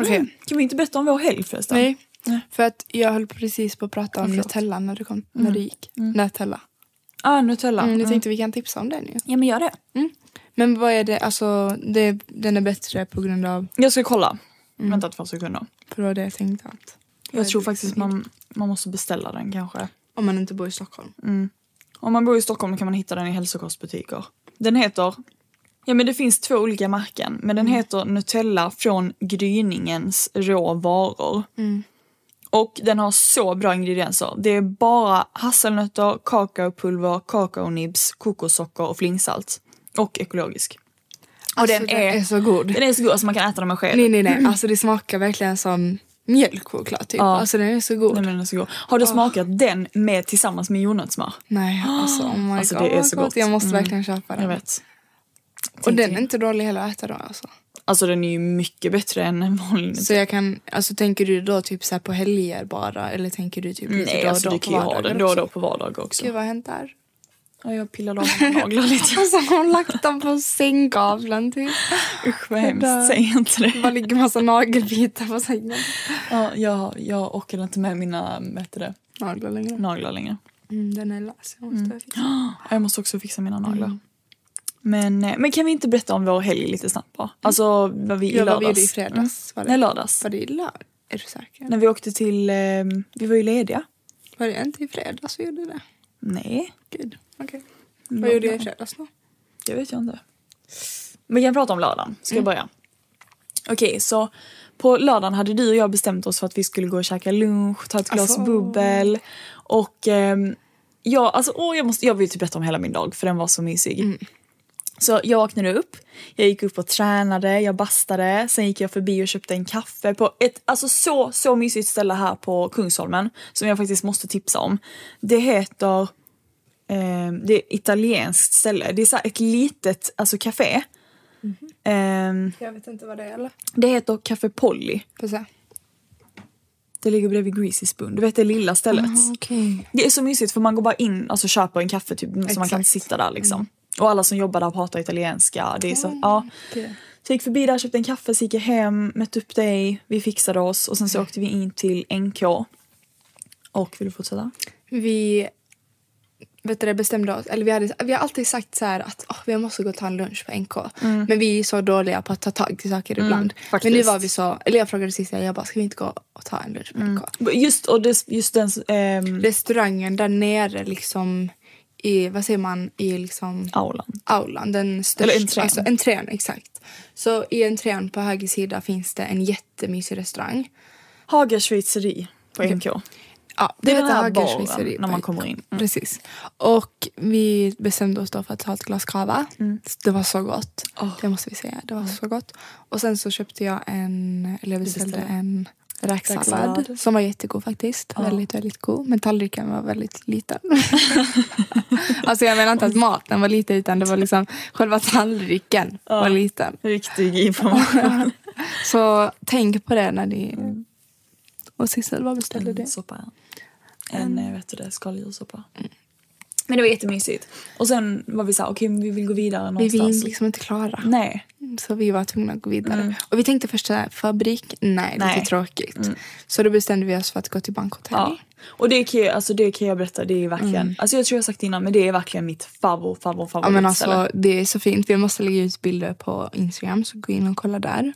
Speaker 2: Okej.
Speaker 1: Mm. Kan vi inte berätta om vår helg förresten?
Speaker 2: Nej.
Speaker 1: Nej.
Speaker 2: För att jag höll precis på att prata om Nutella när du, kom, när du gick. Nutella.
Speaker 1: Ah, Nutella.
Speaker 2: Mm, jag
Speaker 1: Mm.
Speaker 2: tänkte vi kan tipsa om den ju.
Speaker 1: Ja men gör det.
Speaker 2: Men vad är det, alltså det, den är bättre på grund av,
Speaker 1: Jag ska kolla.
Speaker 2: Mm.
Speaker 1: Vänta två sekunder.
Speaker 2: för det var det jag tänkte att
Speaker 1: Jag tror faktiskt man, man måste beställa den kanske.
Speaker 2: om man inte bor i Stockholm.
Speaker 1: Mm. Om man bor i Stockholm kan man hitta den i hälsokostbutiker. Den heter... Ja men det finns två olika märken. Men
Speaker 2: Mm.
Speaker 1: den heter Nutella från Gryningens råvaror.
Speaker 2: Mm.
Speaker 1: Och den har så bra ingredienser. Det är bara hasselnötter, kakaopulver, kakaonibs, kokossocker och flingsalt. Och ekologisk. Och
Speaker 2: Alltså,
Speaker 1: den, är,
Speaker 2: så god.
Speaker 1: Den är så god alltså man kan äta den med sked.
Speaker 2: Nej nej nej, alltså det smakar verkligen som mjölkchoklad typ.
Speaker 1: Ja.
Speaker 2: Alltså den är så god.
Speaker 1: Nej,
Speaker 2: Nej,
Speaker 1: men den är så god. Har du smakat den med tillsammans med jordnötssmör?
Speaker 2: alltså oh my
Speaker 1: Alltså,
Speaker 2: god.
Speaker 1: det är så gott.
Speaker 2: Jag måste
Speaker 1: Mm.
Speaker 2: verkligen köpa den.
Speaker 1: Jag vet.
Speaker 2: Och den
Speaker 1: jag.
Speaker 2: är inte dålig heller att äta då alltså.
Speaker 1: Alltså den är ju mycket bättre än en vanlig
Speaker 2: Så jag kan, alltså tänker du då typ så här på helger bara eller tänker du typ lite
Speaker 1: Nej,
Speaker 2: då och
Speaker 1: alltså
Speaker 2: då
Speaker 1: du
Speaker 2: på
Speaker 1: kan ju ha
Speaker 2: vardagar
Speaker 1: den då och
Speaker 2: också?
Speaker 1: då på vardag också.
Speaker 2: Gud vad har hänt där?
Speaker 1: Ja, jag pillade av mina naglar lite.
Speaker 2: Alltså hon har lagt den på sänggavlen typ.
Speaker 1: Usch vad
Speaker 2: Där.
Speaker 1: hemskt, säg inte
Speaker 2: Det bara
Speaker 1: det.
Speaker 2: ligger massa nagelbitar på sängen.
Speaker 1: Ja, jag, jag orkade inte med mina vad heter det,
Speaker 2: Naglar längre.
Speaker 1: naglar längre.
Speaker 2: Mm, den är lös. Jag måste fixa.
Speaker 1: Ja, Jag måste också fixa mina naglar.
Speaker 2: Mm.
Speaker 1: Men, eh, men kan vi inte berätta om vår helg lite snabbt bara? Alltså vad vi i
Speaker 2: Ja,
Speaker 1: lördags. Mm.
Speaker 2: vad vi gjorde i fredags. Var det,
Speaker 1: Nej, lördags.
Speaker 2: var det i lördag? Är du säker?
Speaker 1: När vi åkte till, eh, vi var ju lediga.
Speaker 2: Var det inte i fredags vi gjorde det?
Speaker 1: Nej,
Speaker 2: Gud, okej.
Speaker 1: Ja,
Speaker 2: Vad gjorde jag i
Speaker 1: nej.
Speaker 2: fredags då?
Speaker 1: det vet jag inte. Men jag kan prata om lördagen. Ska jag börja? Okej, så på lördagen hade du och jag bestämt oss för att vi skulle gå och käka lunch, ta ett glas
Speaker 2: Alltså.
Speaker 1: bubbel. Och ehm, jag, alltså, åh, jag, måste, jag vill typ berätta om hela min dag för den var så mysig. Så jag vaknade upp, jag gick upp och tränade, jag bastade, sen gick jag förbi och köpte en kaffe på ett alltså så, så mysigt ställe här på Kungsholmen som jag faktiskt måste tipsa om. Det heter, eh, det är ett italienskt ställe, det är så här ett litet alltså café. Ehm,
Speaker 2: Jag vet inte vad det är eller?
Speaker 1: det heter Café Polly.
Speaker 2: Får se.
Speaker 1: Det ligger bredvid Greasy Spoon. Du vet det lilla stället.
Speaker 2: Okej.
Speaker 1: Det är så mysigt för man går bara in och så köper en kaffe typ, så man kan
Speaker 2: Exakt.
Speaker 1: sitta där liksom. Och alla som jobbar där pratar italienska. Det är så, ja.
Speaker 2: okej.
Speaker 1: Så jag gick förbi där, köpte en kaffe, så gick jag hem, mötte upp dig, vi fixade oss och sen så åkte vi in till NK. Och vill du fortsätta?
Speaker 2: Vi vet du, det, bestämde oss, eller vi, hade, vi har alltid sagt så här att "Åh, vi måste gå och ta en lunch på NK. Men vi är så dåliga på att ta tag i saker ibland. Men nu
Speaker 1: Mm. faktiskt.
Speaker 2: var vi så, eller jag frågade Cissi, jag bara ska vi inte gå och ta en lunch på NK?
Speaker 1: Mm. Just, och det, just den... ehm,
Speaker 2: Restaurangen där nere liksom i, vad säger man, i liksom
Speaker 1: aulan.
Speaker 2: aulan, den största.
Speaker 1: Eller entrén.
Speaker 2: Alltså, entrén, exakt. Så i entrén på höger sida finns det en jättemysig restaurang.
Speaker 1: Haga schweizeri på NK.
Speaker 2: Ja,
Speaker 1: Det är
Speaker 2: heter
Speaker 1: den här
Speaker 2: Hagens
Speaker 1: baren
Speaker 2: Schweizeri
Speaker 1: när man
Speaker 2: på-
Speaker 1: kommer in. Mm.
Speaker 2: Precis. Och vi bestämde oss då för att ta ett glas cava.
Speaker 1: Mm.
Speaker 2: Det var så gott. Det måste vi säga. Det var så gott. Och sen så köpte jag en, eller jag beställde
Speaker 1: beställde.
Speaker 2: en räksallad.
Speaker 1: Räksallad.
Speaker 2: Som var jättegod faktiskt. Väldigt, väldigt god. Men tallriken var väldigt liten. alltså jag menar inte att maten var liten utan det var liksom själva tallriken var liten.
Speaker 1: Riktig information.
Speaker 2: Så tänk på det när ni...
Speaker 1: Mm.
Speaker 2: Och Sissel, vad beställde du?
Speaker 1: En soppa. En, eh, vet du det, skaldjurssoppa.
Speaker 2: Mm.
Speaker 1: Men det var jättemysigt. Och sen var vi såhär, okej men vi vill gå vidare
Speaker 2: Vi
Speaker 1: någonstans.
Speaker 2: vill liksom inte klara.
Speaker 1: Nej.
Speaker 2: Så vi var tvungna att gå vidare. Och vi tänkte först så här, fabrik, nej,
Speaker 1: Mm. Nej. Mm.
Speaker 2: lite tråkigt. Så då bestämde vi oss för att gå till bankhotell.
Speaker 1: Ja. Och det kan, jag, alltså, det kan jag berätta, det är verkligen, alltså jag tror jag har sagt det innan men det är verkligen mitt favvo, favvo,
Speaker 2: Mm. Ja, men
Speaker 1: favoritställe.
Speaker 2: alltså, det är så fint. Vi måste lägga ut bilder på Instagram, så gå in och kolla där.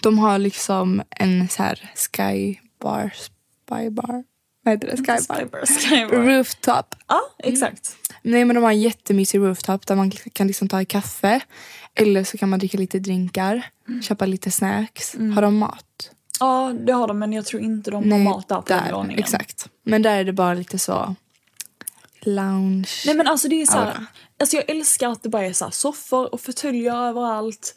Speaker 2: De har liksom en så här skybar, spybar, vad heter det? Skybar. Mm.
Speaker 1: Skybar, Skybar.
Speaker 2: Rooftop.
Speaker 1: Ja, exakt.
Speaker 2: Nej men de har en jättemysig rooftop där man kan liksom ta kaffe. Eller så kan man dricka lite drinkar,
Speaker 1: Mm.
Speaker 2: köpa lite snacks. Har de mat?
Speaker 1: Ja, det har de men jag tror inte de har mat där på den våningen.
Speaker 2: Exakt. Men där är det bara lite så lounge.
Speaker 1: Nej men alltså det är så här,
Speaker 2: Aura.
Speaker 1: alltså jag älskar att det bara är så här soffor och fåtöljer överallt.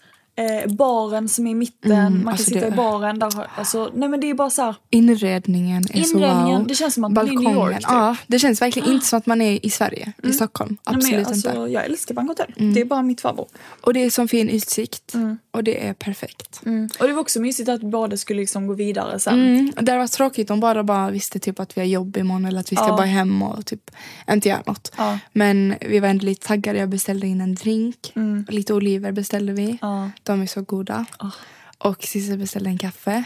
Speaker 1: Eh, baren som är i mitten, man kan
Speaker 2: alltså
Speaker 1: sitta
Speaker 2: det-
Speaker 1: i baren. Där, har- alltså, nej men det är bara så här,
Speaker 2: Inredningen är så
Speaker 1: Inredningen,
Speaker 2: wow.
Speaker 1: det känns som att man är i New York, typ. Ah. Mm.
Speaker 2: Ja, det känns verkligen inte som att man är i Sverige, i Stockholm. Absolut
Speaker 1: nej, men, alltså,
Speaker 2: inte. Mm.
Speaker 1: Jag älskar Bankhotell, det är bara mitt favorit.
Speaker 2: Och det är sån fin utsikt
Speaker 1: Mm.
Speaker 2: och det är perfekt.
Speaker 1: Och det var också mysigt att båda skulle liksom gå vidare sen.
Speaker 2: Mm, och Det var tråkigt om bara, bara visste typ att vi har jobb imorgon eller att vi ska bara hem och typ inte göra något.
Speaker 1: Ja.
Speaker 2: Men vi var ändå lite taggade. Jag beställde in en drink. Lite oliver beställde vi.
Speaker 1: Mm. Ja. Ah.
Speaker 2: De är så goda. Och Sissel beställde en
Speaker 1: Mm.
Speaker 2: kaffe.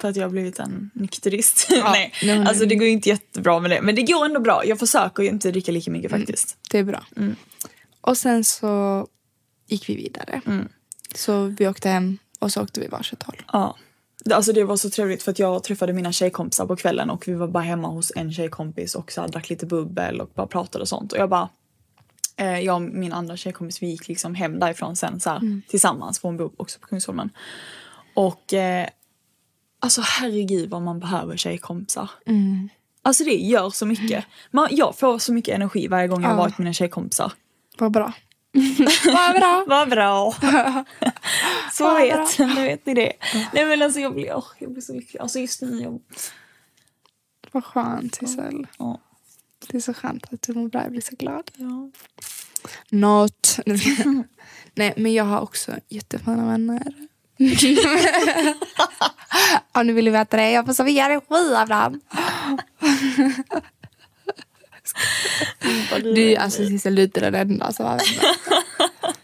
Speaker 1: För att jag har blivit en nykterist.
Speaker 2: Ja,
Speaker 1: nej.
Speaker 2: nej, nej,
Speaker 1: alltså det
Speaker 2: nej.
Speaker 1: går ju inte jättebra med det. Men det går ändå bra. Jag försöker ju inte dricka lika
Speaker 2: Mm.
Speaker 1: mycket faktiskt.
Speaker 2: Det är bra. Och sen så gick vi vidare. Så vi åkte hem och så åkte vi varsitt håll.
Speaker 1: Ja. Det- Alltså det var så trevligt för att jag träffade mina tjejkompisar på kvällen och vi var bara hemma hos en tjejkompis och så här, drack lite bubbel och bara pratade och sånt. Och jag bara, eh, jag och min andra tjejkompis vi gick liksom hem därifrån sen så här, tillsammans för hon bor också på Kungsholmen. Och eh, alltså herregud vad man behöver tjejkompisar. Alltså det gör så mycket. Man, jag får så mycket energi varje gång jag har varit med mina tjejkompisar.
Speaker 2: Vad bra. Vad bra.
Speaker 1: Vad bra! så
Speaker 2: Vad
Speaker 1: vet, nu vet ni det. Nej men alltså jag blir, åh, jag blir så lycklig. Alltså just nu, jag,
Speaker 2: Vad skönt Sissel.
Speaker 1: ja.
Speaker 2: Det är så skönt att du mår bra. Jag blir så glad.
Speaker 1: Ja.
Speaker 2: Not. Nej men jag har också jättefina vänner. Om ni vill veta det. Jag får Sofia är skitbra. Du alltså Sissel du är inte den enda som har vänner.